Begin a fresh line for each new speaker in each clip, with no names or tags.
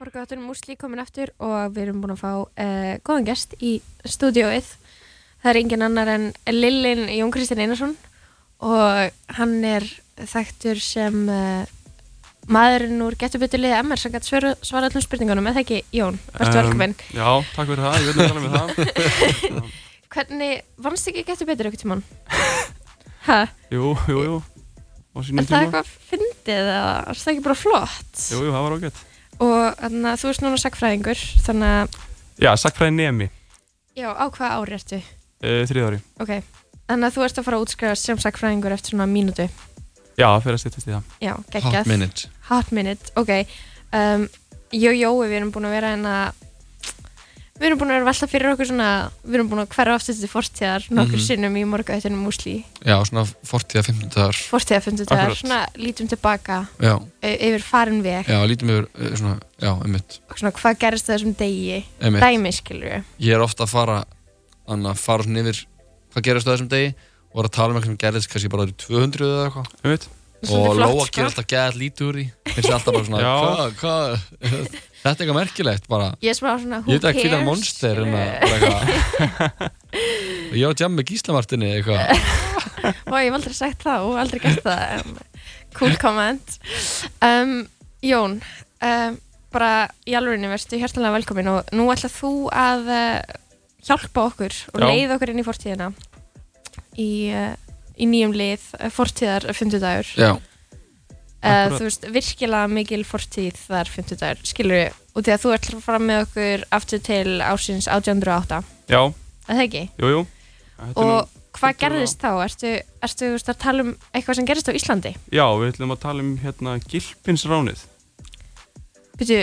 Morgáttur Músli komin aftur og við erum búin að fá uh, góðan gest í stúdióið. Það er engin annar en Lillin Jón Kristinn Einarsson og hann er þekktur sem uh, maðurinn úr getubutuliði MR sem gæti svara, svara allum spurningunum, eða ekki Jón, verður
Em,
velkominn.
Já, takk fyrir það, ég vil tala með það
Hvernig, vannst ekki getubutur ykkur tímann? ha,
Jú, jú, jú Á
er
sínum
það
tíma
eitthvað fyndið eða er það ekki bara flott?
Jú, jú, það var ágætt
Og þannig, þú ert núna sagfræðingur, þannig að,
Já, sakfræði nemi,
já, á hvaða ári ertu?
uh, þriðari
Ok, þannig að þú ert að fara að útskrifa sem sakfræðingur eftir svona mínútu.
Já, það fyrir að stýttist í það
Já, geggjað.
Hot minute
Hot minute, ok. Um, jó, jó, við erum búin að vera en að, við erum búin að vera að velta fyrir okkur svona, við erum búin að hverja aftur til fortíðar nokkur
Mhm.
sinnum í morgaðutunum úsli.
Já, svona 40-15 dagar
Fortíðarfundu þegar
Akkurat.
svona lítum tilbaka
Já,
e- yfir farin veg
já, lítum yfir eh, svona, já, einmitt,
og svona hvað gerist á þessum degi,
einmitt.
dæmi skilur við.
Ég er ofta að fara Þannig að fara svona yfir Hvað gerist á þessum degi Og er að tala um eitthvað sem gerðist kannski bara árið 200 eða eitthvað
Einmitt.
Og Lóa
sko.
gerir alltaf gæðat lítið úr því Finnst alltaf bara svona
Já.
Hvað, hvað Þetta er eitthvað merkilegt bara
Ég er smá svona,
Ég veit
who
ekki fyrir
cares,
að monster
skilur
hérna. en að
við.
bara eitthvað Ég var að jamma með Gíslamartinni eitthvað
Og ég hef aldrei sagt það og aldrei gert það um, Cool comment um, Jón um, bara í alvegurinu verðstu hjartalega velkomin og nú ætla þú að uh, hjálpa okkur og
Já.
leiða okkur inn í fortíðina í, uh, í nýjum lið uh, fortíðar 50 dagur
Já,
uh,
Akkúrat.
þú veist virkilega mikil fortíð þar 50 dagur, skilur við og því að þú ætlar að fara með okkur aftur til ásins 1808,
Já,
er það ekki?
jú, jú Þetta er
og
nú,
hvað
þetta er nú-
gerðist þá? Ertu, ertu þú veist, að tala um eitthvað sem gerðist á Íslandi?
Já, við ætlum að tala um hérna gilpinsránið
Býtu,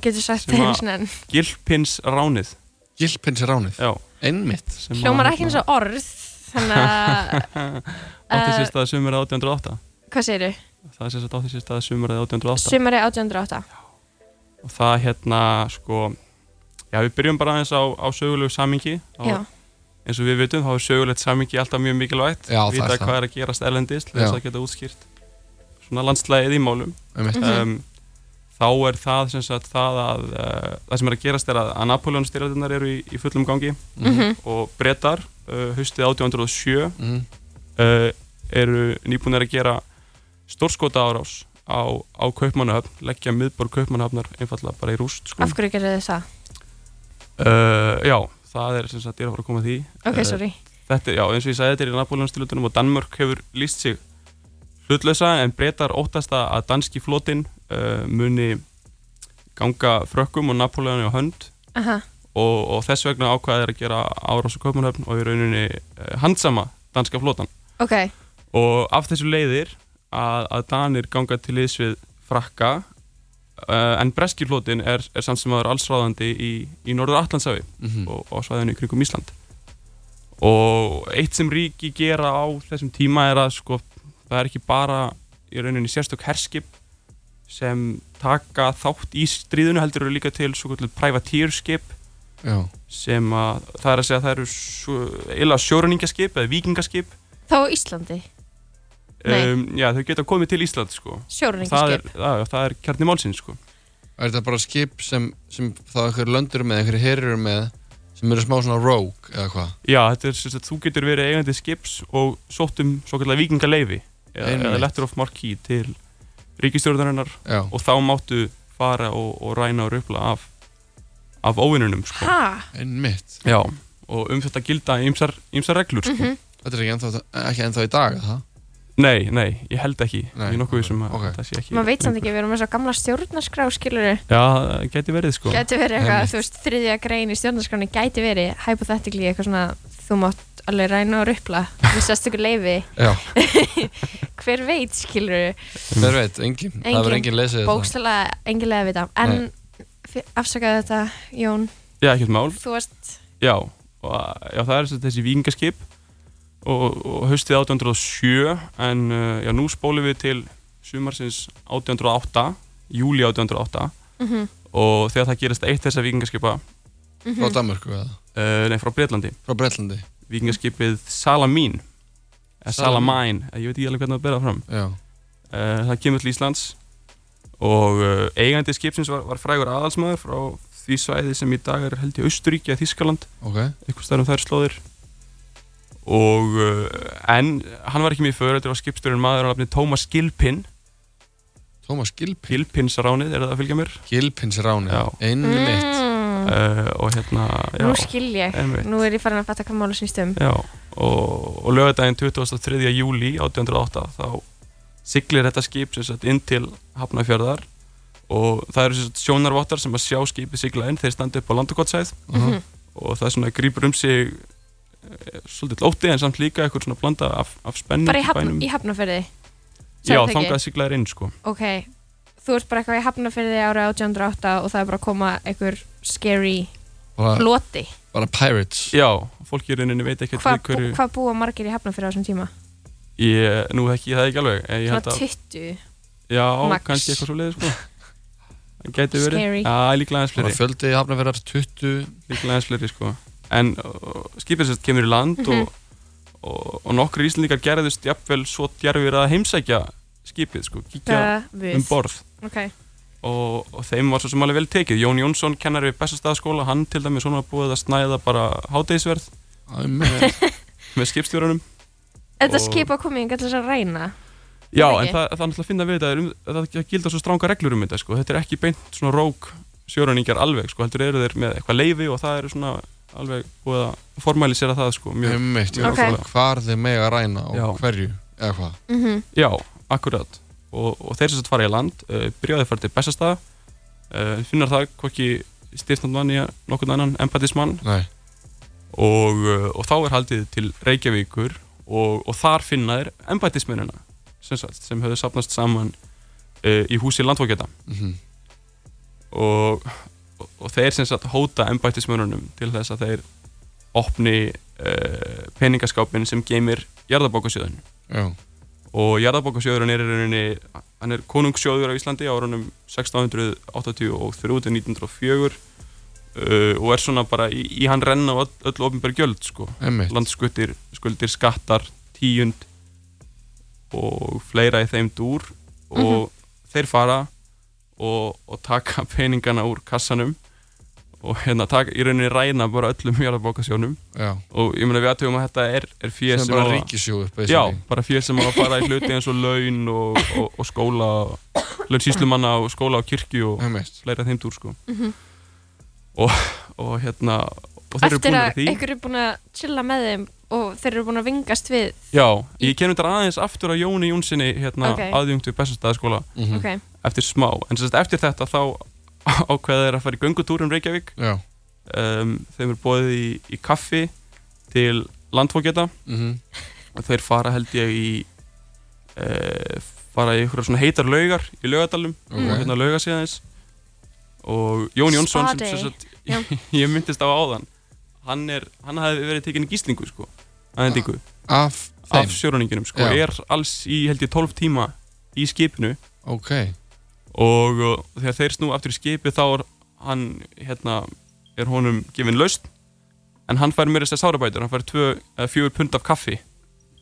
getur sagt
Sem
það einu
að-
sinni en
Gilpinsránið,
Gilpins er ránið
já
Einmitt
sem að,
hljómar ekki
hérna,
eins og orð þannig að,
Átti sér
eh,
stað sumarið 1808
hvað segirðu?
Það er sér stað átti sér stað sumarið 1808
Sumari 1808
Og það hérna, sko Já, við byrjum bara aðeins á, á sögulegu samingi
Já,
eins og við vitum, þá er sögulegt samingi alltaf mjög mikilvægt
Já, það
vita
er það.
hvað er að gerast erlendis til
Já.
þess að geta útskýrt svona landslæðið í málum
Einmitt
um, þá er það sem sagt það að uh, það sem er að gerast er að, að Napoleon styrjaldirnar eru í, í fullum gangi
mhm,
og brettar uh, haustið 1807 uh,
Mhm.
eh, eru nýbúinir að gera stórskota árás á, á Kaupmannahöfn, leggja miðborg Kaupmannahöfnar einfallega bara í rúst sko.
af hverju gerðu þið það?
uh, já, það er sem sagt, ég er að fara að koma að því
Ok,
Eh,
sorry
þetta, er- já, eins og ég sagði þetta er í Napoleonstilutunum og Danmörk hefur líst sig hlutlösa en breytar óttast að að danski flotin uh, muni ganga frökkum og Napoleoni á hönd
Aha,
og, og þess vegna ákvaðið er að gera árás á Kaupmannhöfn og í rauninni uh, handsama danska flotan
ok,
og af þessu leiðir að, að Danir ganga til liðs við frakka uh, en breski flotin er, er samt sem aður allsráðandi í, í norður Atlantshafi
Mhm.
og, og svæðinu í kringum Ísland og eitt sem ríki gera á þessum tíma er að sko, það er ekki bara í rauninni sérstök herskip sem taka þátt í stríðinu heldur eru líka til svo kvöldu privateerskip
Já
sem að það er að segja að það eru svo- eiginlega sjóruningaskip eða vikingaskip
þá á Íslandi Nei.
um, já, þau geta komið til Ísland sko. það er,
Sjóruningaskip
að, það er kjarni málsins sko.
Er þetta bara skip sem, sem þá einhver löndur með, einhver herur með sem eru smá svona rogue eða hvað?
já, þetta er sem sagt, þú getur verið eigandi skips og sótt um svo kallar vikingaleifi eða,
Einmitt.
eða letter of marki til ríkistjórnarinnar
Já,
og þá máttu fara og, og ræna og röfla af, af óvinnunum sko.
Ha,
einmitt.
Já, og um þetta gilda ymsar, ymsar reglur sko.
Þetta er ekki ennþá, ekki ennþá í dag, er það?
Nei, nei, ég held ekki
Nei,
Ég er nokkuð
ok,
vissum að
ok.
það sé ekki
maður veit samt ekki, við erum með svo gamla stjórnarskrá skilur
Já, það geti verið sko
Gæti verið eitthvað,
Einmitt.
þú veist, þriðja grein í stjórnarskráni gæti verið hypothetically eitthvað svona þú mátt alveg ræna og rupla við sérstökur leifi,
Já.
hver veit skilur
Hver veit, engin. Það verður engin lesið þetta.
bókslega engilega við það en fyr- afsakaðu þetta Jón,
Já, ekkert mál
þú varst
Já, og, já það er sem sagt þessi vikingaskip og, og haustið 1807 en uh, já, nú spólum við til sumarsins 1808 júli 1808
mhm,
og þegar það gerist eitt þessa vikingaskipa
Frá
mhm,
Danmörku eða?
uh, nei, frá Breitlandi
Frá Bretlandi?
vikingaskipið Salamín eða
Salamín.
Salamine, ég veit ekki alveg hvernig að bera það fram
Já.
uh, það kemur til Íslands og uh, eigandi skipsins var, var frægur aðalsmaður frá því svæði sem í dag er held í Austuríki að Þískaland
ok,
eitthvað stærðum um þær slóðir og uh, en hann var ekki mjög fyrir þetta var skipstjórinn maður á nafni Tómas Gilpin
Thomas Gilpin
Gilpinsránið er það að fylgja mér
Gilpins ráni,
Já.
einmitt
Mm,
uh, og hérna
nú
já,
skil ég.
einmitt.
Nú er ég farin að fatta hvað mála snýst um.
já, og, og lögadaginn 23. júli 1808 þá siglir þetta skip sem sagt inn til Hafnafjörðar og það eru sem sagt sjónarvottar sem að sjá skipið sigla inn þeir standa upp á landakottsæð
Mm. Mhm.
Aha.
og það svona grýpur um sig eh, svolítið lóti en samt líka eitthvað svona blanda af, af spennu
Bara í, hafn, í hafnaferði. sagði
Já,
það ekki?
þangað siglaðir inn sko
Ok, þú ert bara eitthvað í hafnaferði árið 1808 og það er bara að koma einhver scary
Ah.
bara,
floti.
bara pirates
Já, fólk í rauninni veit ekkert
Hvað
við
bú,
hverju
hva búa margir í hafnaferði á þessum tíma?
ég, Nú þekki ég það ekki alveg en ég
Svona
held að,
20.
Já,
max.
kannski eitthvað svo leiðis sko Það gæti verið
Scary.
Já, líklega aðeins
bara
fleiri
fjöldi hafnaferðar 20
Líklega aðeins fleiri sko En uh, skipið sérst kemur í land
Mhm.
og, og, og nokkri íslendingar gerðust jafnvel svo djerfir að heimsækja skipið sko, kíkja um
Guð.
borð
Ok,
og, og þeim var svo sem alveg vel tekið Jón Jónsson kennari bestastaðskóla hann til dæmis svona búið að snæða bara hádegisverð
einmitt,
með skipstjórunum
þetta
Og-
skipa komið en gætla þess að ræna.
Já,
Er það
en
ekki?
það, það er náttúrulega að finna við þetta er um, það, það gildar svo stránga reglur um þetta sko. þetta er ekki beint svona rók sjórunningar alveg, sko. heldur eru þeir með eitthvað leifi og það eru svona alveg búið að formælisera það sko, mjög,
einmitt
mjög
Ok.
ótrúlega.
hvar þið mega ræna og
Já.
hverju, eða hvað
Mm
Já, akkurat og, og þeir sem þetta fara í land uh, byrjaði að fara til Bessastaða uh, finnar það hvorki styrtnandmann í nokkurn annan empatismann
Nei.
og, uh, og þá er haldið til Reykjavíkur og, og þar finna þeir embættismennina sem, sagt, sem höfðu sapnast saman uh, í húsi landfókjata
Mhm.
og, og þeir sem sagt hóta embættismönunum til þess að þeir opni uh, peningaskápin sem geymir jarðabókasjóðun
Já.
og jarðabókasjóðurinn er í rauninni hann er konungssjóður á Íslandi á árunum 1683 og 1904 uh, og er svona bara í, í hann renna á öll, öll ofinbær gjöld sko
einmitt
landskuttir, skuldir, skattar, tíund og fleira í þeim dúr og
Mhm.
þeir fara og, og taka peningana úr kassanum og hérna taka, í rauninni ræna bara öllum jarðabókasjónum
Já.
og ég meina við aðtöfum að þetta er, er fjöð
sem
sem, á
bara
að-
ríkisjóður
Já,
basically.
bara fjöð sem á að fara í hluti eins og laun og, og, og skóla laun síslumanna og skóla og kirkju og
einmitt
fleira í þeim dúr sko og, og hérna og þeir eru
Eftir
búin
að
að því
einhver er búin að chilla með þeim og þeir eru búin að vingast við.
Já, ég kemur þetta aðeins aftur á Jóni Jónssoni hérna
Ok.
okay. aðjungtu Bessastæðaskóla
Mhm.
Ok,
eftir smá, en sérst eftir þetta þá ákveða þeir að fara í göngutúr um Reykjavík
Já.
um, þeim er bóðið í, í kaffi til landfóketa
Mhm.
og þeir fara held ég í uh, fara í einhverja svona heitar laugar í laugadalum
Ok. Mm.
og hérna lauga síðanis og Jón Jónsson sem,
Spa
sem
day.
sagt, ég myndist á áðan hann, er, hann hafði verið tekinn í gíslingu sko, aðendingu
af þeim
af sjóræninginum sko,
Já.
er alls í held ég 12 tíma í skipinu
ok,
og uh, þegar þeir snú aftur í skipi þá er hann hérna, er honum gefin laust en hann fær mér þess að sárabætur hann fær tvö, eh, fjögur pund af kaffi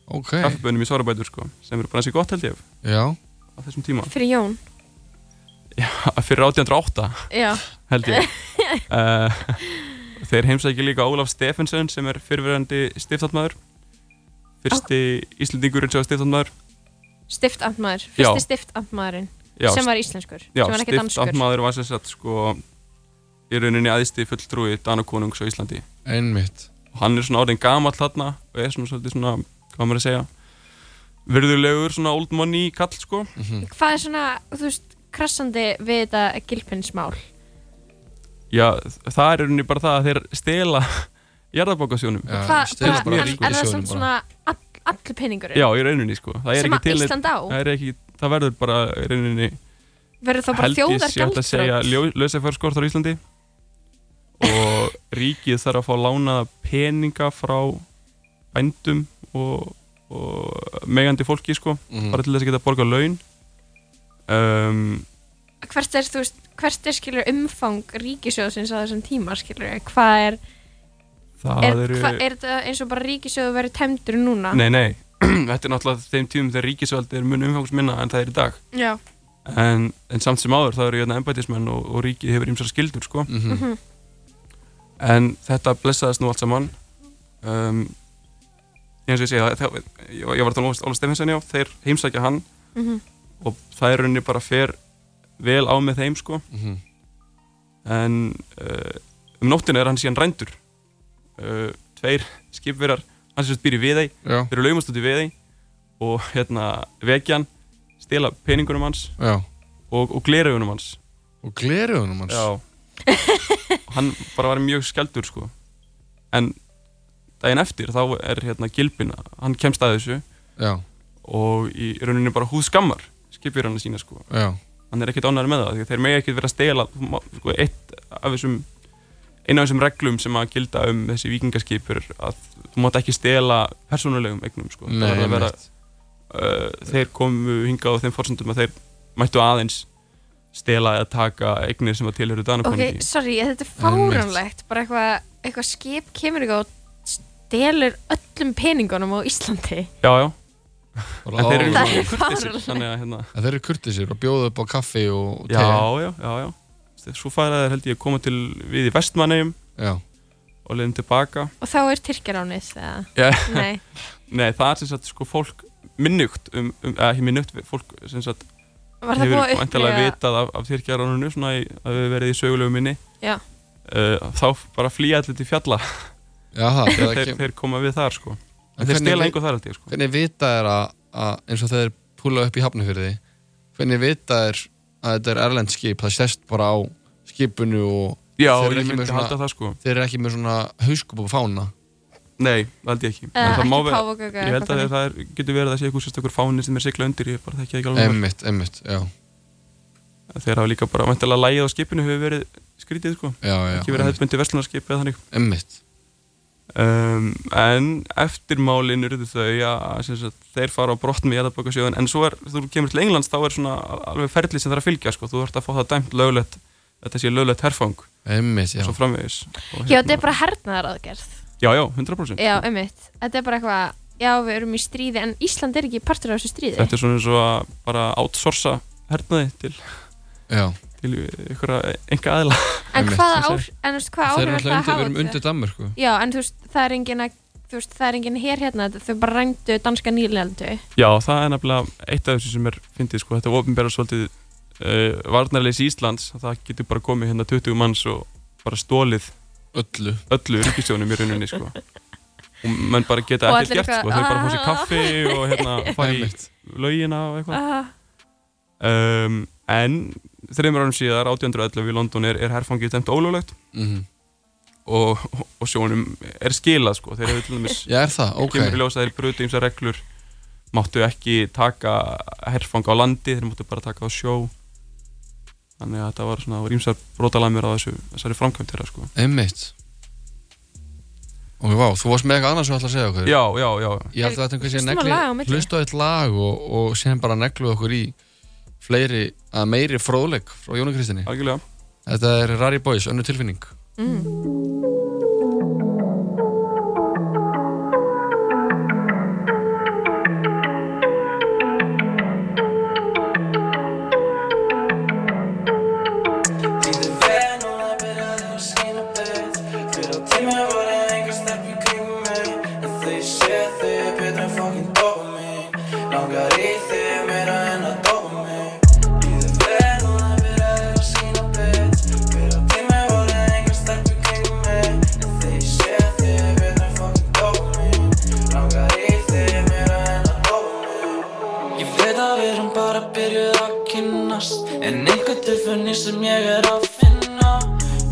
ok
kaffibönum í sárabætur sko, sem eru bara hansi gott held ég
já,
á þessum tíma
fyrir Jón.
fyrir 1808
Já,
held ég uh, þeir heimsækja líka Ólaf Stefensson sem er fyrirverandi stiftatmaður fyrsti Íslendingurinn sem var stiftatmaður
stiftantmaður.
Já.
Fyrsti stiftantmaðurinn
Já,
sem var íslenskur,
Já,
sem var ekki danskur.
stiftamtmaður var sem sagt sko í rauninni aðisti fulltrúi Danakonungs á Íslandi
einmitt
og hann er svona orðin gamall þarna og er svona svolítið svona, hvað á maður að segja virðulegur svona old money kall sko
Hvað er svona, þú veist, krassandi við þetta gilpinsmál?
Já, það er í rauninni bara það að þeir stela jarðabókasjónum
Já,
Hvað-
stela
bara- en-
bara
En það er
ríkissjóðnum
samt
bara.
svona all, allur peningurinn
Já, í rauninni sko Það er
sem
ekki
að
til neitt-
Ísland á?
það, er ekki, það verður bara í rauninni
Verður þá bara
held ég sé hægt að segja
þjóðargjaldrönd?
lösefærskortar á Íslandi og ríkið þarf að fá lánaða peninga frá bændum og, og megandi fólki sko,
Mhm.
bara til þess að geta borgað laun um,
Hvert er, þú veist, hvert er skilur umfang ríkisjóðsins á þessum tíma skilur? Hvað er,
það
er,
eru
hva, er þetta eins og bara ríkisjóðu verið temdur núna?
nei, nei, þetta er náttúrulega þeim tímum þegar ríkisvald er mun umfangsminna en það er í dag
Já,
en, en samt sem áður þá eru hérna embætismenn og, og ríkið hefur ímsar skildur sko
mm
Mhm.
-hmm.
en þetta blessaðist nú allt saman um, eins og ég segja það, ég, ég var að tala um Óla Stefensen já þeir heimsækja hann
Mhm.
og það er rauninni bara fer vel á með þeim sko en uh, um nóttinu er hann síðan rændur uh, tveir skipverjar hann sem sagt býr í viðei,
Já,
þeir eru laumast út í viðei og hérna vekja hann stela peningunum hans
já
og, og glerugunum hans
Og gleruðunum hans
Já Og Hann bara var mjög skeldur sko En daginn eftir þá er hérna Gilbin Hann kemst að þessu
já,
Og í rauninni bara húðskammar Skipir hann sína sko
já,
Hann er ekkert ánæður með það því að Þeir megi ekkert vera að stela þú má- sko, Eitt af þessum Einn af þessum reglum sem að gilda um þessi vikingaskipur Að þú mátt ekki stela persónulegum eignum sko Það
Nei,
verður að vera,
einmitt.
uh, Þeir komu hingað á þeim forsendum að þeir mættu aðeins stela eða taka eignir sem að tilhöru
ok,
danakonungi
sorry, ég- þetta er
Einmitt.
fáránlegt bara eitthvað eitthva skip kemur eitthvað og stelur öllum peningunum á Íslandi
Já, já,
Bara
en þeir eru
Það
á-
er
svona kurteisir,
fáránlegt.
þannig að hérna
En þeir eru kurtisir og bjóðu upp á kaffi og og
já,
te
já, já, já Þeir- svo færa þeir held ég að koma til við í vestmannheim
já.
og leiðum tilbaka
og þá er Tyrkjaránið eða,
Já.
nei,
nei, það er sem sagt sko fólk minnugt um, um eða ekki minnugt, fólk sem sagt
var það
hefur
búið að
vantilega
upplifa
vitað af, af þyrkjaránunu svona í, að við verið í sögulegu minni
Já.
Uh, þá bara flýja allir til fjalla
já, það þegar það
þeir,
kem-
þeir koma við þar sko
En
en þeir
hvernig
stela
veit-
engu þar held ég sko
Hvernig vita er að, að eins og þeir púla upp í hafnafyrði Hvernig vita er að þetta er erlend skip Það sést bara á skipinu og
já,
Þeir eru
ég
ekki
myndi
með svona-
halda það sko
þeir eru ekki með svona hauskup og fána
nei, það held ég ekki
eða
En það
ekki
má vera-
páfagauka
ég held að það er- getur verið að sé eitthvað sérstakur fáni sem er sigla undir ég bara þekki það ekki alveg
Emmitt, emmitt, já,
þeir hafa líka bara vantilega lægið á skipinu hefur verið skrítið sko
já, já
ekki verið hefðbundi verslunarskip eða þannig
Emmitt,
um, en eftirmálin urðu þau að sem sagt, þeir fara á brott með jæðabokasjóðan en svo er, þú kemur til Englands þá er svona alveg ferli sem það er að fylgja sko, þú ert að fá það dæmt löglegt þetta sé löglegt herfang
emmitt, já
og svo framvegis og, hérna-
já, þetta er bara hernaðar aðgerð
já, já, 100%
já, ummitt, þetta er bara eitthvað já, við erum í stríði, en Ísland er ekki partur af þessu stríði
þetta er svona eins og að bara outsourca hernaði til,
Já,
til einhverja enga aðila
en
einmitt,
hvaða
sem
áhr- en þú veist, hvaða
þeir
áhrif
eru
er það að
alltaf undir, við
hafa
erum
á þau?
undir Danmörku
já, en þú veist, það er engin að þú veist, það er engin hér hérna þau bara rændu danska nýlendu
já, það er nefnilega eitt af þessu sem er fyndið sko, þetta ofinbæra svolítið uh, varnarleysi Íslands, það getur bara komið hérna 20 manns og bara stólið
Öllu
öllu ríkistjónum í rauninni sko. og menn bara geta
Og
ekkert
allir
gert sko.
eitthvað,
þau bara fá sér
"Ah."
kaffi og hérna fara í
Einmitt,
laugina og eitthvað
ah,
um, en þreymur árum síðar 1811 í London er, er herfangið dæmt ólöglegt
mhm
og, og, og sjónum er skilað sko. þeir eru til dæmis
Já, er það, ok
kemur í ljós að þeir brutu ymsa reglur máttu ekki taka herfang á landi, þeir máttu bara taka á sjó þannig að þetta var svona rímsar brotalæmur á þessu, þessari framkvæmt þeirra sko.
Einmitt Ok, vá, þú varst með eitthvað annað sem þú ætla að segja okkur
já, já, já,
Ég held að þetta einhvern
Hlustum á lag á milli.
veginn negli Hlustu á eitt lag og, og síðan bara neglu okkur í fleiri, að meiri fróðleik frá Jónu Kristinni
algjörlega
Þetta er Rari Boys, önnu tilfinning
mm.
Lítið ven og það byrjaði að skýna beitt Fyrir á tíma var það einhver stelp í kringum mig En þau sé þau er betra en fokkin dopa mig Langar í þig meira en að dopa mig Lítið ven og það byrjaði að skýna beitt Fyrir á tíma var það einhver stelp í kringum mig En þau sé þau er betra en fokkin dopa mig Langar í þig meira en að dopa mig Ég veit að við erum bara byrjuð að kynnast En einhver tilfunni sem ég er að finna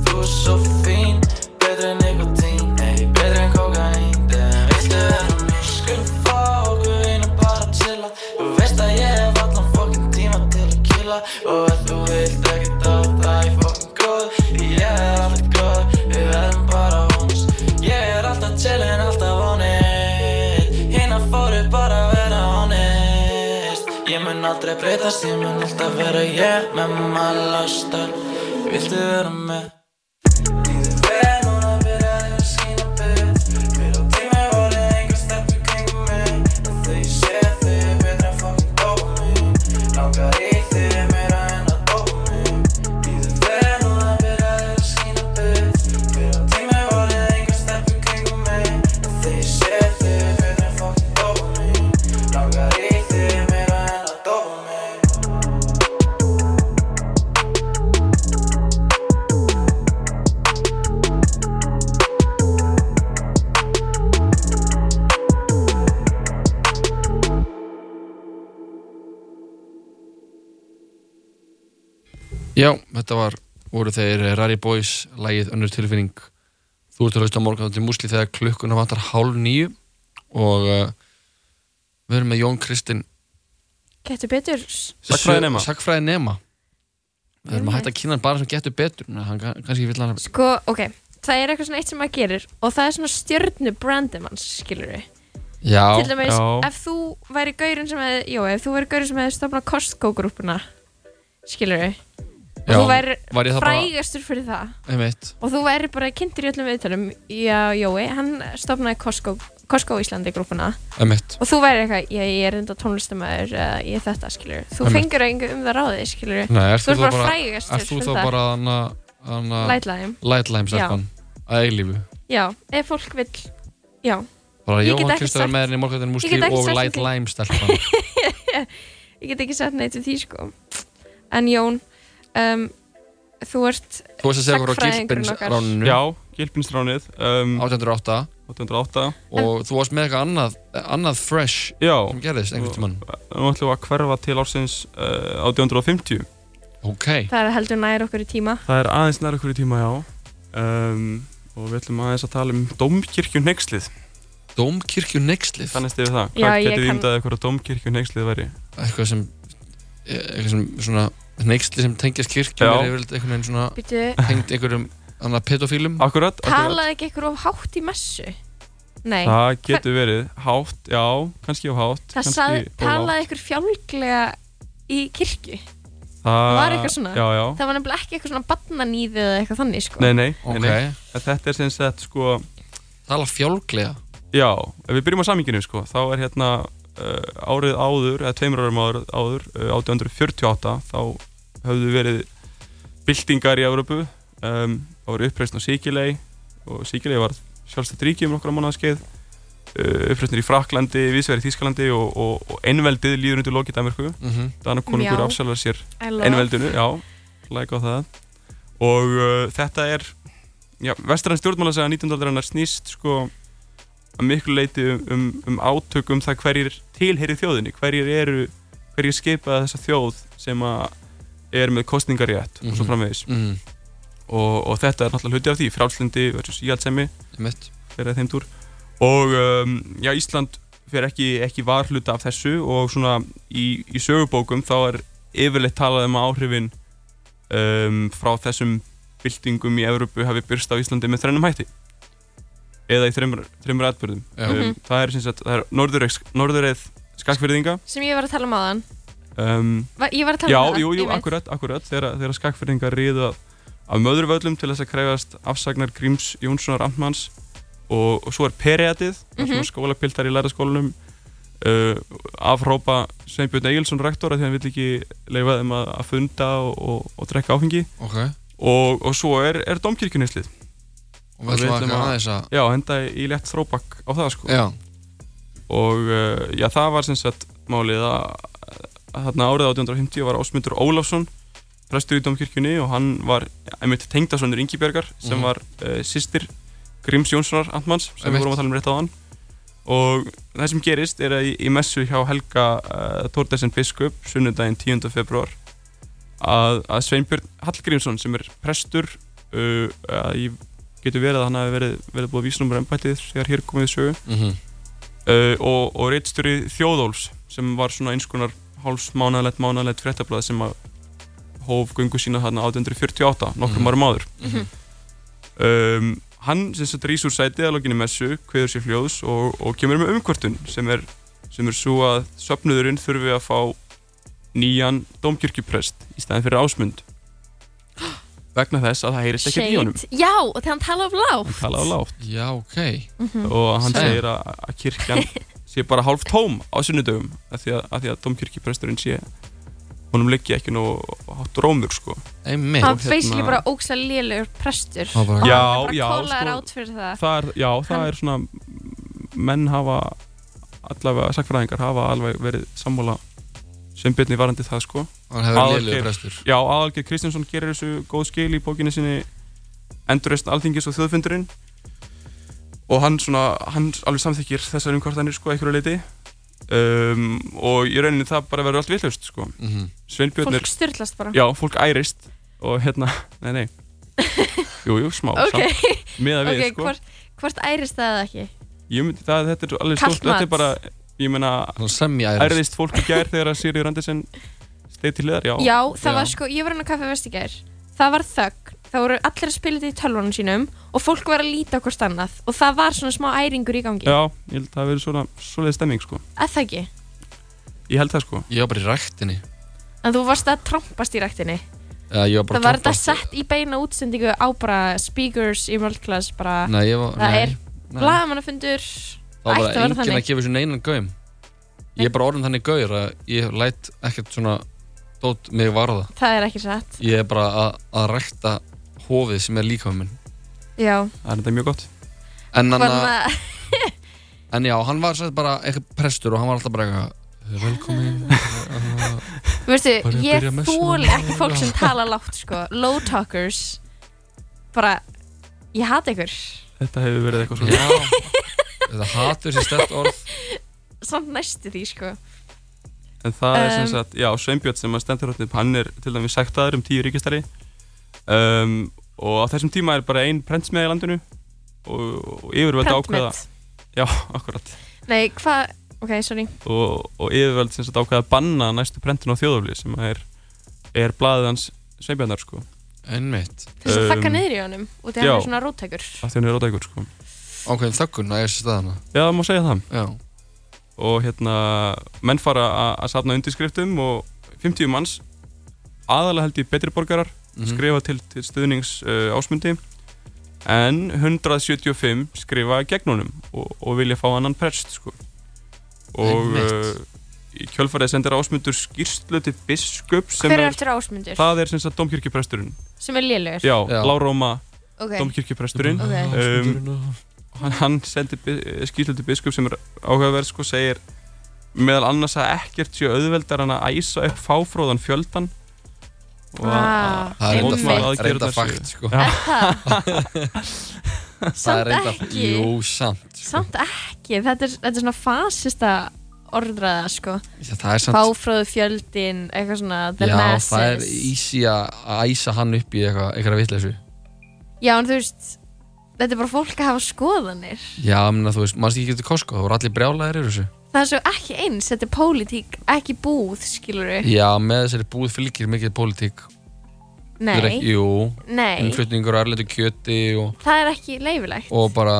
Þú er svo fín, betri en nikotín Ey, betri en kokaín Þegar veistu erum mér Skulum fá okkur einu bara til að Þú veist að ég hef allan fokkin tíma til að killa Og ef þú vilt ekki þá það er fokkin góð Ég er alveg góð, við verðum bara honest Ég er alltaf chillin, alltaf honest Hina fóru bara að vera honest Ég mun aldrei breytast, ég mun alltaf vera ég Með maður lastar, viltu vera með? Líður vel núna byrjaði að skýna byrð Fyrir á tími voru einhver stærtur kringum mig En þau sé þau er betra en fokkin dópa mig Langar í þig meira
Já, þetta var, voru þeir eh, Rari Boys, lægið Önnur tilfinning Þú ert að hlusta á morgun til músli þegar klukkuna vantar hálf nýju og uh, við erum með Jón Kristinn
Getur betur
Sagnfræðinema.
Sakfræði nema Við erum að hætta að kynna hann bara sem getur betur en hann kann- kannski vill hann
Sko, ok, það er eitthvað svona eitt sem maður gerir og það er svona stjörnu brandum hans, skilur við
Já,
Til dæmis,
já.
ef þú væri gaurinn sem hefði, jó, ef þú væri gaurinn sem hefði stofnað Costco-grúpuna skilur við og
já,
þú væri
var ég það bara-
frægastur fyrir það
einmitt
og þú væri bara kynntir í öllum viðtölum já, Jói, hann stofnaði Costco, Costco Íslandi grúpuna
Einmitt,
og þú væri eitthvað, ég, ég er enda tónlistamæður uh, ég er þetta, skilur þú
Einmitt.
fengur engu um það ráðið, skilur
Nei, ert
þú er
þú þá
bara
bara-
frægastur
Ert þú þá bara hann að- hann að
lætlaðum,
Lightline
Já.
stelpan að eilífu
já, ef fólk vill já,
Bara
Ég get
Jóhann
ekkert
Kristinn er
sagt-
með henni í morgun
Ég
músli
get ekkert
og
sagt um
Light
því.
Lime stelpan
ég get ekki sagt neitt við því, sko en Jón um, þú ert,
Þú veist að segja okkur á
Sagnfræðingurinn
Gilbins
okkar.
ráninu
Já, Gilpinstránið um,
1808
808
og þú varst með eitthvað annað, annað fresh
Já,
sem gerðist einhvern tímann
nú ætlum við að hverfa til ársins uh, 1850
Ok,
það er heldur nær okkur í tíma
Það er aðeins nær okkur í tíma, já um, Og við ætlum aðeins að tala um Dómkirkjunhegslið
Dómkirkju nexlið
Þannig stiði það,
Já,
hvað
ég
getið
kann-
ímdaðið hverju Dómkirkjunhegslið væri
eitthvað sem e, eitthvað sem svona nexli sem tengjast kirkjum
Já.
er yfirleitt einhvern veginn svona
Byrju,
tengd einhverjum annað pedofílum
Akkurat, akkurat
talaði ekki eitthvað of hátt í messu nei, það,
Það getur verið hátt, já, kannski á
það
hátt kannski
sað,
of
talaði
lágt.
eitthvað fjálglega í kirkju
Það
var eitthvað svona.
Já, já,
það var nefnilega ekki eitthvað svona barnanýði eða eitthvað þannig, sko
nei, nei,
Ok,
nei, nei. Þetta er sem sagt, sko,
tala fjálglega
Já, ef við byrjum á saminginu sko, þá er hérna uh, árið áður, eða tveimur árum áður, áður uh, 1848, þá höfðu verið byltingar í Evrópu, um, þá var uppreisn á Sikilei og Sikilei var sjálfstætt ríki um nokkra mánuðaskeið, uh, uppreisnir í Fraklandi, viðsverið í Þískalandi og, og, og einveldið líður undir lokið Danmarku,
mm -hmm.
Danakonungur
Já.
afsalar sér
I love-
einveldinu, já, læk á það og uh, þetta er já, vestræn stjórnmála segja 19. aldarinnar snýst sko að miklu leiti um, um, um átök um það hverjir tilheyri þjóðinni, hverjir eru hverjir skipa þessa þjóð sem að er með kostningarétt og svo
Mhm.
framvegis
mm,
og, og þetta er náttúrulega hluti af því, frálslindi versus íhaldsemi
einmitt.
fyrir þeim túr og um, já, Ísland fyrir ekki, ekki varhluta af þessu og svona í, í sögubókum þá er yfirleitt talað um að áhrifin um, frá þessum byltingum í Evrópu hafi byrst á Íslandi með þrennum hætti eða í þreymur, þreymur atbyrðum
Já.
um, það er sem sagt, það er norðureið, norðureið skakfyrðinga
sem ég var að tala um áðan
um,
Va- ég var að tala
Já,
um það
jú, jú,
ég veit.
akkurat, akkurat þegar, þegar skakfyrringar ríða af möðurvöllum til þess að krefjast afsagnar Gríms Jónssonar Amtmanns og, og svo er periatið mm
Mhm.
-hmm. skólapiltar í læraskólanum uh, afhrópa Sveinbjörn Egilson rektor að því hann vill ekki leifa þeim að, að funda og, og, og drekka áfengi
Ok,
og, og svo er, er domkirkjunislið
og við ætlum að aðeins að
Já, henda í létt þróbakk á það sko
Já,
og uh, já, það var sem sagt málið að, að þarna árið 1850 var Ásmundur Ólafsson prestur í domkirkjunni og hann var einmitt tengdasonur Ingibjörgar sem
Mhm.
var uh, sýstir Gríms Jónssonar Antmanns sem við
Einmitt.
vorum að tala um rétt á hann og það sem gerist er að í, í messu hjá Helga uh, Tordesen biskup sunnudaginn 10. februar að, að Sveinbjörn Hallgrímsson sem er prestur uh, að ég getur verið að hann hafi verið, verið búið vísnumur embættið þegar hér komið sögu
mm
uh, og, og reitstjóri Þjóðólfs sem var svona eins konar hálfs mánaðlegt mánaðlegt fréttablað sem að hóf gungu sína þarna 1848 nokkrum
Mhm.
árum áður
Mhm.
um, hann sem sett rís úr sæti að lokinni messu, kveður sér hljóðs og, og kemur með umkvörtun sem er sem er svo að söpnuðurinn þurfi að fá nýjan domkirkjuprest í staðin fyrir ásmund vegna þess að það heyrist ekkert í honum
Shade. já, og þegar hann tala um lág
hann talaði lágt
já, ok
Mhm.
og hann
Sæja.
segir að, að kirkjan sé bara hálf tóm á sunnudögum af því að, að, því að domkirkjupresturinn sé honum liggi ekki nú hátt rómur sko.
Einmitt
hann
hérna-
basically bara ógsa lélegur prestur
Hann bara-
og
Já,
hann er
já,
bara kólaður
sko.
át fyrir það
það er, já, það
Hann-
er svona menn hafa allavega, sakfræðingar hafa alveg verið sammála sem byrni varandi það sko.
Hann hefur
Aðalgeir.
liðlega prestur
Já, aðalgeir Kristjánsson gerir þessu góð skil í bókinni sinni Endurreist alþingis og þjóðfundurinn og hann svona, hann alveg samþykir þessar umkvartanir sko, einhverju leiti um, og í rauninni það bara verður allt villust sko.
mm
Sveinbjörn
fólk
er,
styrlast bara
já, fólk ærist og hérna, nei, nei jú, jú, smá,
ok,
samt, miða við,
ok,
sko
hvort, hvort ærist það eða ekki?
ég myndi það, þetta er svo alveg
Kalt
stórt, þetta
mat.
er bara ég meina,
Þannig semja ærist
ærðist fólk í gær þegar að Siri Randisen steið til liðar, já,
Já, það
já.
var sko, ég var hann á kaffi vestigær Það var þögn, það voru allir að spila þetta í tölvunum sínum og fólk var að líta hvort annað og það var svona smá æringur í gangi
já ég held að það verið svona, svoleið stemming, sko
að það ekki,
ég held það, sko,
Ég var bara í ræktinni
en þú varst að trompast í ræktinni
Eða, ég var bara
Það var þetta
trompast.
sett í beina útsendingu á bara speakers í world class bara
Nei, ég var
Það
nei,
er
nei.
blagamannafundur
Það var
ætti að vera
bara enginn
þannig.
að gefa sér neinan gaum Ég er bara orðin þannig gaur að ég læt ekkert svona dót mig varða
Það er ekki satt
Ég er bara að, að rækta hófið sem er líka minn
Já,
það er þetta mjög gott
En,
var hann
anna,
að
en já, hann var sætt bara eitthvað prestur og hann var alltaf bara eitthvað Velkomin
Veistu,
Var ég að
ég
byrja messuna
þóli
núna?
ekki fólk sem tala lágt sko Low talkers Bara, ég hata ykkur
þetta hefur verið eitthvað svona
Já, þetta hatur sér stert orð
Samt næstu því sko
En það er sem
Um,
sagt, já, Sveinbjörn sem að stendur hóttnið, hann er til dæmis sektaður um tíu ríkistari um, og á þessum tíma er bara ein prentsmiða í landinu og, og yfirvöld ákveða
Prentmitt.
Já, akkurat
Nei, hvað, ok, sorry
og, og yfirvöld sem sagt ákveða að banna næstu prentun á þjóðöfli sem að er, er blaðið hans Sveinbjörnar sko
Einmitt
Þess að
Um,
þakka niður í honum Og það
já.
er svona róttækur
að því hann er rótækur sko
Ákveðin þökkun að ég sér staðana
Já, það má segja það
Já,
og hérna, menn fara að- að safna undirskriftum og 50 manns aðalega held ég betri borgarar
mhm.
skrifa til, til stuðnings uh, ásmundi en 175 skrifa gegn honum og, og vilja fá annan prest sko. og uh,
Einmitt.
í kjölfarið sendir ásmundur skýrslu til biskup sem
Hver er
er,
eftir ásmundur?
það er sem sagt domkirkjupresturinn
Sem er lélugur
já,
Já.
Láróma
Ok,
domkirkjupresturinn
Ok.
Ehm, hann, hann sendir bi- eh, skýrslu til biskup sem er áhugaverð sko, segir meðal annars að ekkert sé auðveldar en að æsa upp fáfróðan fjöldan og að
Ah,
Það er
Einmitt.
reynda,
Mótmæla-
reynda
aðgerðirnar
fakt sko
Já.
Er það?
Það er
Samt
reynda,
ekki
jú, samt sko.
Samt ekki, þetta er, þetta er svona fasista orðraða sko
Já, Það er samt
Fáfróðu fjöldin, eitthvað svona the
Já,
masses
það er easy að að æsa hann upp í eitthvað, eitthvað vitleysu
Já, en þú veist, þetta er bara fólk að hafa skoðanir
Já, menna, þú veist, mannst ekki getur Costco, það voru allir brjálæðir yfir þessu
Það er svo ekki eins, þetta er pólitík, ekki búð, skilur við
Já, með þessari búð fylgir mikið pólitík Þetta er
Nei,
Jú,
nei,
innflutningur á erlendu kjöti og,
það er ekki leifilegt
og bara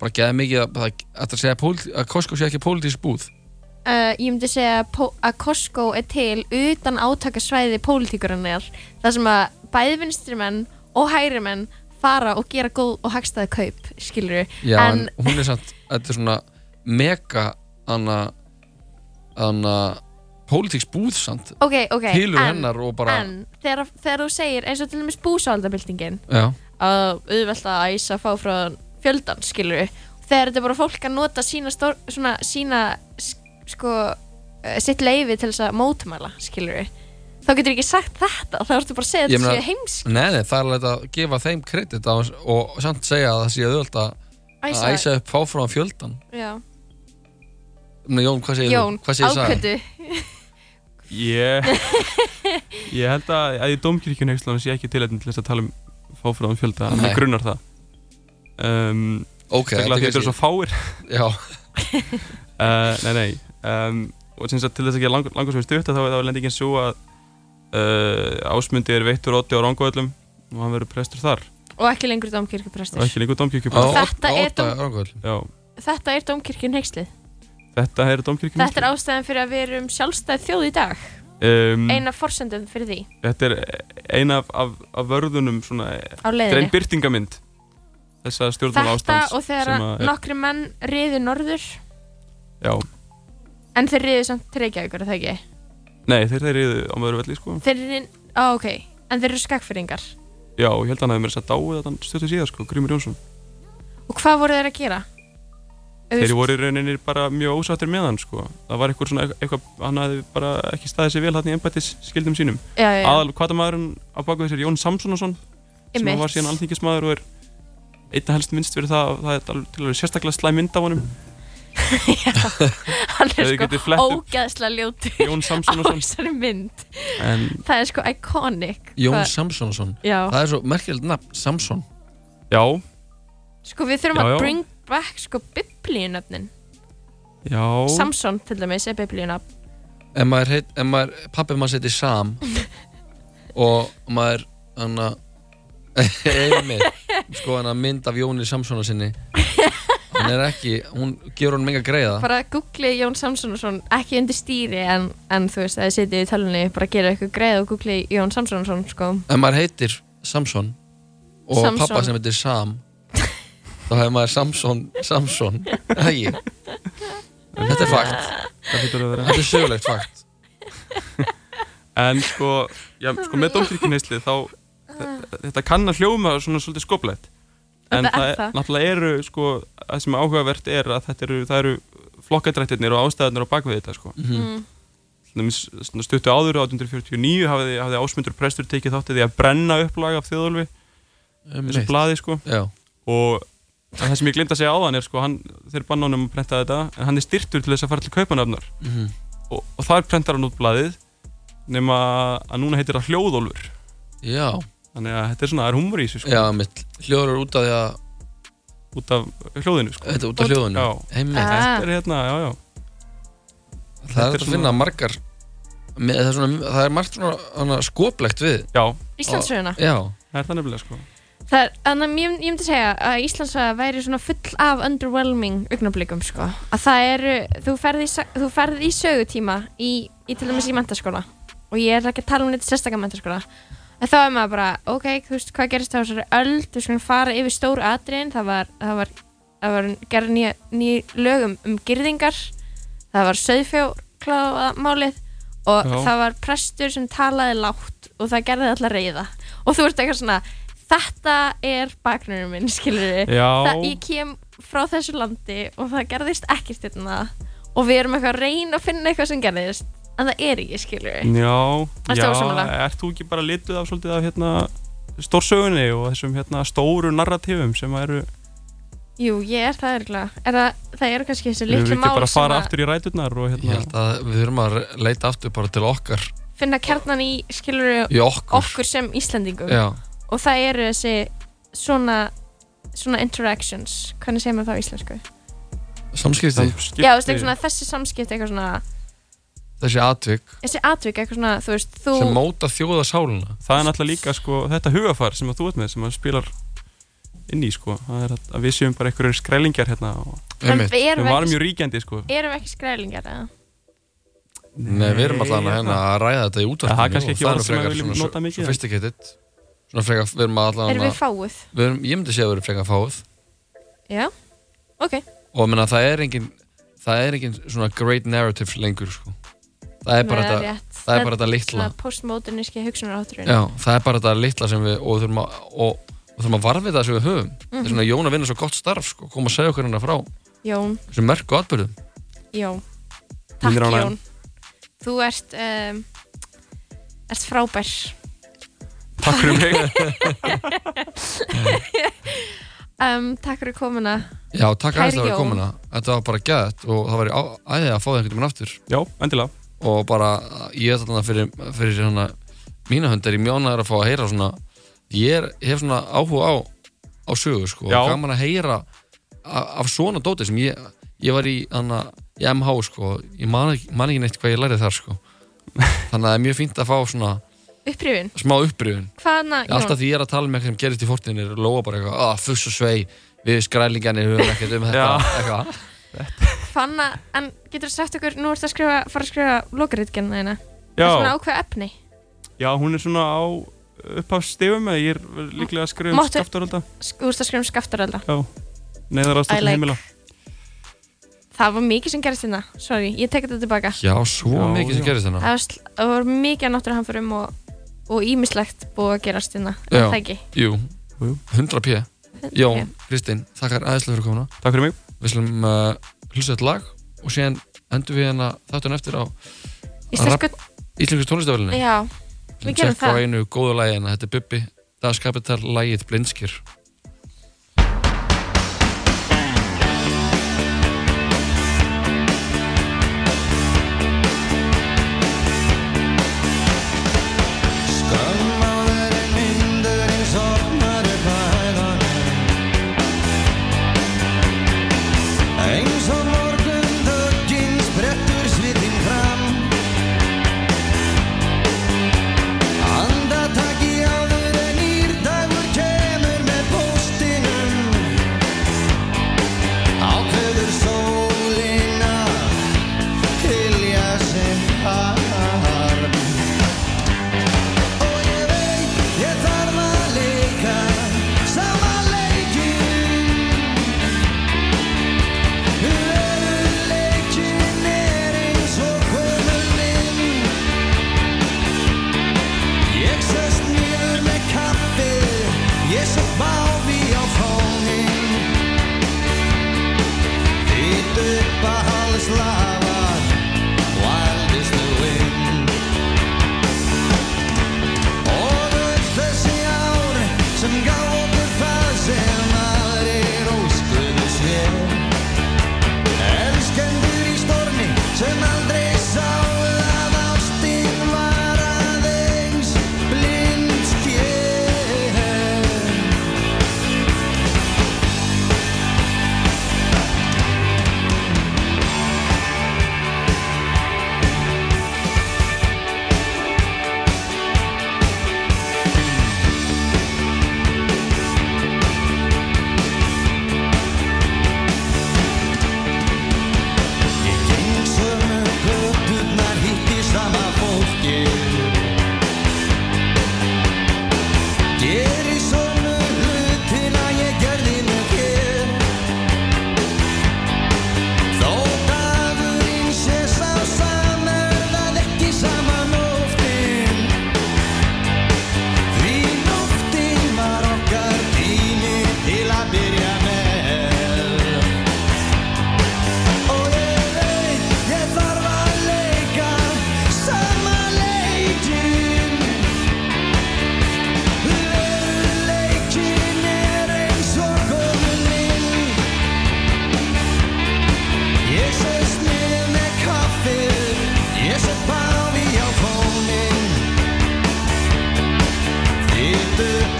bara geða mikið að, að, að, segja, að, pólit, að Costco sé ekki pólitísk búð
uh, Ég myndi segja að pó- að Costco er til utan átakasvæði pólitíkurinnar Það sem að bæði vinstri menn og hægri menn fara og gera góð og hagstæði kaup, skilur við
Já, en,
En-
hún er samt, þetta er svona mega anna, anna pólitísk búð samt
Ok, ok,
Tilur
en-
hennar og bara
En þegar, þegar þú segir eins og til dæmis búsáhaldabildingin
Já,
að auðvelt að æsa að fá frá fjöldan skilur við þegar þetta er bara fólk að nota sína, stór, svona, sína s- sko, eh, sitt leifi til þess að mótmæla skilur við þá getur ekki sagt þetta, þá ertu bara að segja
Ég
þetta
meina-
sé heimsk
nei, nei, það er alveg að gefa þeim kredit á, og samt segja að það sé auðvöld að
æsa,
að æsa upp fáfráðan fjöldan
Já.
Nei, Jón, hvað segir
Jón,
þú? Hvað segir Saga?
ákvöndu
Ég, ég held að, að í domkirkjunhegslunum sé ekki tilhættin til þess að tala um fáfráðan fjölda, en
Nei.
mig grunnar það. Um,
Ok,
Þegar þetta er svo fáir.
Já,
Uh, nei, nei. Um, og sem sagt til þess að gera lang, langar sem við stutt þá er það lendingin svo að uh, ásmundi er veittur ótti á ránguöllum og hann verður prestur þar
og ekki lengur
og
domkirkjuprestur
ekki lengur domkirkjuprestur.
Ó. Þetta er um-
Ótta
dóm-
rangvöld
Já,
þetta er domkirkjun heikslið
þetta er domkirkjun.
þetta er ástæðan fyrir að við erum sjálfstæð þjóð í dag
Um,
eina forsendum fyrir því
Þetta er eina af, af, af vörðunum svona,
á
þetta er einn
leiðinni
byrtingamind þessa stjórnmála
þetta
ástands
og þegar
um sem að
að
er-
nokkri menn riðu norður
Já,
en þeir riðu samt til Reykjavíkur, er það ekki?
nei, þeir þeir eru á maður velli sko
Þeir eru, á ok, en þeir eru skakfyrringar
Já, ég held að hann hefði mér þess að dáið að hann stöttu síðar sko, Grímur Jónsson.
Og hvað voru þeir að gera?
Þeir voru í rauninni bara mjög ósáttir með hann sko. Það var eitthvað svona, eitthvað, hann hefði bara ekki staðið sér vel hann í embættis skildum sínum.
já, já,
Aðal kvatamæðurinn á baku þessir Jón Samsonason, sem
einmitt.
var síðan alþingismæður og er einna helst minnst fyrir það, að það er alveg- til að vera sérstaklega slæm mynd af honum.
hann er
Ef þið getið flett
sko
upp-
ógeðslega ljótur
Jón
á
Samsonarson
þessari mynd
en
það er sko iconic
Jón
Hvað-
Samsonsson
já,
Það er svo merkilegt nafn, Samson
já,
sko við þurfum
Já, já.
að bring back sko biblíunöfnin
já
Samson til dæmis er biblíunöfn
Ef maður, heit, ef maður pappi maður seti Sam og maður hann að sko hann að mynd af Jóni Samsona sinni hann er ekki, hún gefur hann menga greiða
bara googli Jón Samsonarson ekki undir stýri en, en þú veist að þið sitið í tölunni bara gera eitthvað greið og googli Jón Samsonarson sko
ef maður heitir Samson og
Samson.
pappa sem heitir Sam þá hefur maður Samson Samson, ægi þetta er fakt,
það hlýtur að vera.
þetta er sögulegt fakt
en sko, já, sko með dómkirkjuneysli þá þe- þetta kann að hljóma svona svolítið skoplegt en
Þetta er
það, er,
það.
náttúrulega eru sko, það sem er áhugavert er að þetta eru, það eru flokkadrættirnir og ástæðarnir á bakvið þetta sko.
mm.
Til dæmis, svona stuttu áður 1849 hafði, hafði ásmundur prestur tekið þáttið í að brenna upplag af þjóðolfi þessu
Einmitt.
blaði sko
Um já,
og það sem ég glemt að segja áðan er sko, hann, þeir banna honum að prenta þetta en hann er styrtur til þess að fara til kaupanöfnar
Mhm.
og, og þar prentar hann út blaðið nema að núna heitir það hljóðólfur
já,
þannig að þetta er svona, það er humor í þessu sko,
já um mitt hljóður er út af því að
út af hljóðinu sko.
þetta er út af hljóðunum
Já.
einmitt,
Ah.
þetta er hérna, já, já,
það er
Þetta er
hægt að
svona-
finna margar með, það, er svona, það er margt svona hana, skoplegt við
já
Íslandsöguna
já,
það er það nefnilega sko.
það er, en ég, ég myndi segja að Íslandsöga væri svona full af underwhelming augnablikum sko að það eru, þú ferð í, sa- þú ferð í sögutíma í, í til dæmis í mentaskóla og ég er ekki að tala um neitt sérstakka mentaskóla en þá er maður bara, ok, þú veist hvað gerist á þessari öld, við skulum fara yfir stóru atriðin, það var, það var, það var gera nýja, nýja lögum um girðingar, það var söðfjórkláðamálið og
Já.
það var prestur sem talaði lágt og það gerði alltaf reyða og þú ert eitthvað svona, þetta er baknurinn minn, skilur við það,
já,
ég kem frá þessu landi og það gerðist ekkert hérna og við erum eitthvað að reyna að finna eitthvað sem gerðist en það er ekki, skilur
Mm.
við
já,
Ertu
já
ósammála?
ert þú ekki bara lituð af svolítið af hérna stórsögunni og þessum hérna stóru narratífum sem eru,
Jú, ég er það örgulega er það, það eru kannski þessi
við
litlu
ekki
mál
bara að
sem
fara
að
aftur í ræturnar og
ég
hérna,
held að við þurfum að leita aftur bara til okkar,
finna kjarnan í, skilur við
í okkur
okkur sem Íslandingum
já,
og það eru þessi svona svona interactions, hvernig segir maður það á íslensku?
samskipti,
samskipti.
Já, þú veist, eitthvað svona þessi samskipti eitthvað svona,
þessi atvik
þessi atvik eitthvað svona, þú veist, þú
sem móta þjóða sáluna
það er náttúrulega líka sko, þetta hugafar sem að þú ert með sem að spilar inn í sko. það er að, að við séum bara einhverjum skrælingjar hérna og
en
einmitt,
við
við
erum
varum
ekki,
mjög ríkjandi sko.
erum við ekki skrælingar eða?
Nei, við erum alltaf hérna að ræða þetta í útvarpinu
Það er kannski
og
ekki
það
orð
nú
sem við
frekar
viljum
svona
nota mikið, en-
sophisticated svona frekar, við erum alltaf
Erum við fáuð?
við erum, ég myndi segja að við erum frekar fáið
Já, ok
og menna, það er engin það er engin svona great narrative lengur sko. það er bara
Nei,
þetta
rétt.
það er bara þetta litla
svona postmoderníski hugsunarátturinn
Já, það er bara þetta litla sem við og þurfum að, og, og þurfum að varfið það sem við höfum
Mhm.
það er svona Jón að vinna svo gott starf sko, koma að segja okkur hérna frá
Jón,
þessum merku atbyrðum
Jón Takk
Minnir á hana.
Jón Þú ert um, ert frábær
takk fyrir mig
um, Takk fyrir komuna
Já, takk
Kæri
aðeins að vera
Jón.
komuna þetta var bara gæðt og það var æðið að fá það einhvern veginn aftur
já, endilega
og bara ég er þarna fyrir, fyrir hana, mína hönd er í mjónaður að fá að heyra svona ég er, hef svona áhuga á á sögu sko,
Já.
og gaman að heyra af, af svona dóti sem ég ég var í, hana, í MH sko, ég man, ekki- man ekki neitt hvað ég lærið þar sko þannig að það er mjög fínt að fá svona
Upprifin,
smá upprifun
hvaðna
alltaf
Jón?
því ég er að tala með eitthvað sem gerist í fortinni er Lóa bara eitthvað, að fuss og svei við skrælingarnir höfum ekkert um þetta
Já.
eitthvað.
Hvaðna, en getur þú sagt okkur nú ertu að skrifa, fara að skrifa lokaritgenna þína Það er svona
já,
ákveða efni
já, hún er svona á upphafsstegum eða ég er líklega að skrifa um
Máttu-
skaftarölda
Sk- Þú ert að skrifa um skaftarölda
neyðar
I
ástæðan
like.
heimila
Það var mikið sem gerist hérna, sorry, ég tek þetta tilbaka
já, svo
Já,
mikið sem
já.
gerist
Það
þarna
var, sl- það var mikið að náttúruhamförum og, og ímislegt búið að gerast hérna Er
Já.
Það ekki
jú,
Jú.
100 p Jón, Kristinn, þakkar aðeinslega fyrir komuna
takk fyrir mig
við slum uh, hlusta eitt lag og síðan endur við hérna þáttun eftir á
Íslensku,
Íslenskurs tónlistafélinu
já, við gerum
á
það.
einu góðu lagi en þetta er Bubbi Das Kapital lagið Blindskir
Blindskir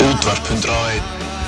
einn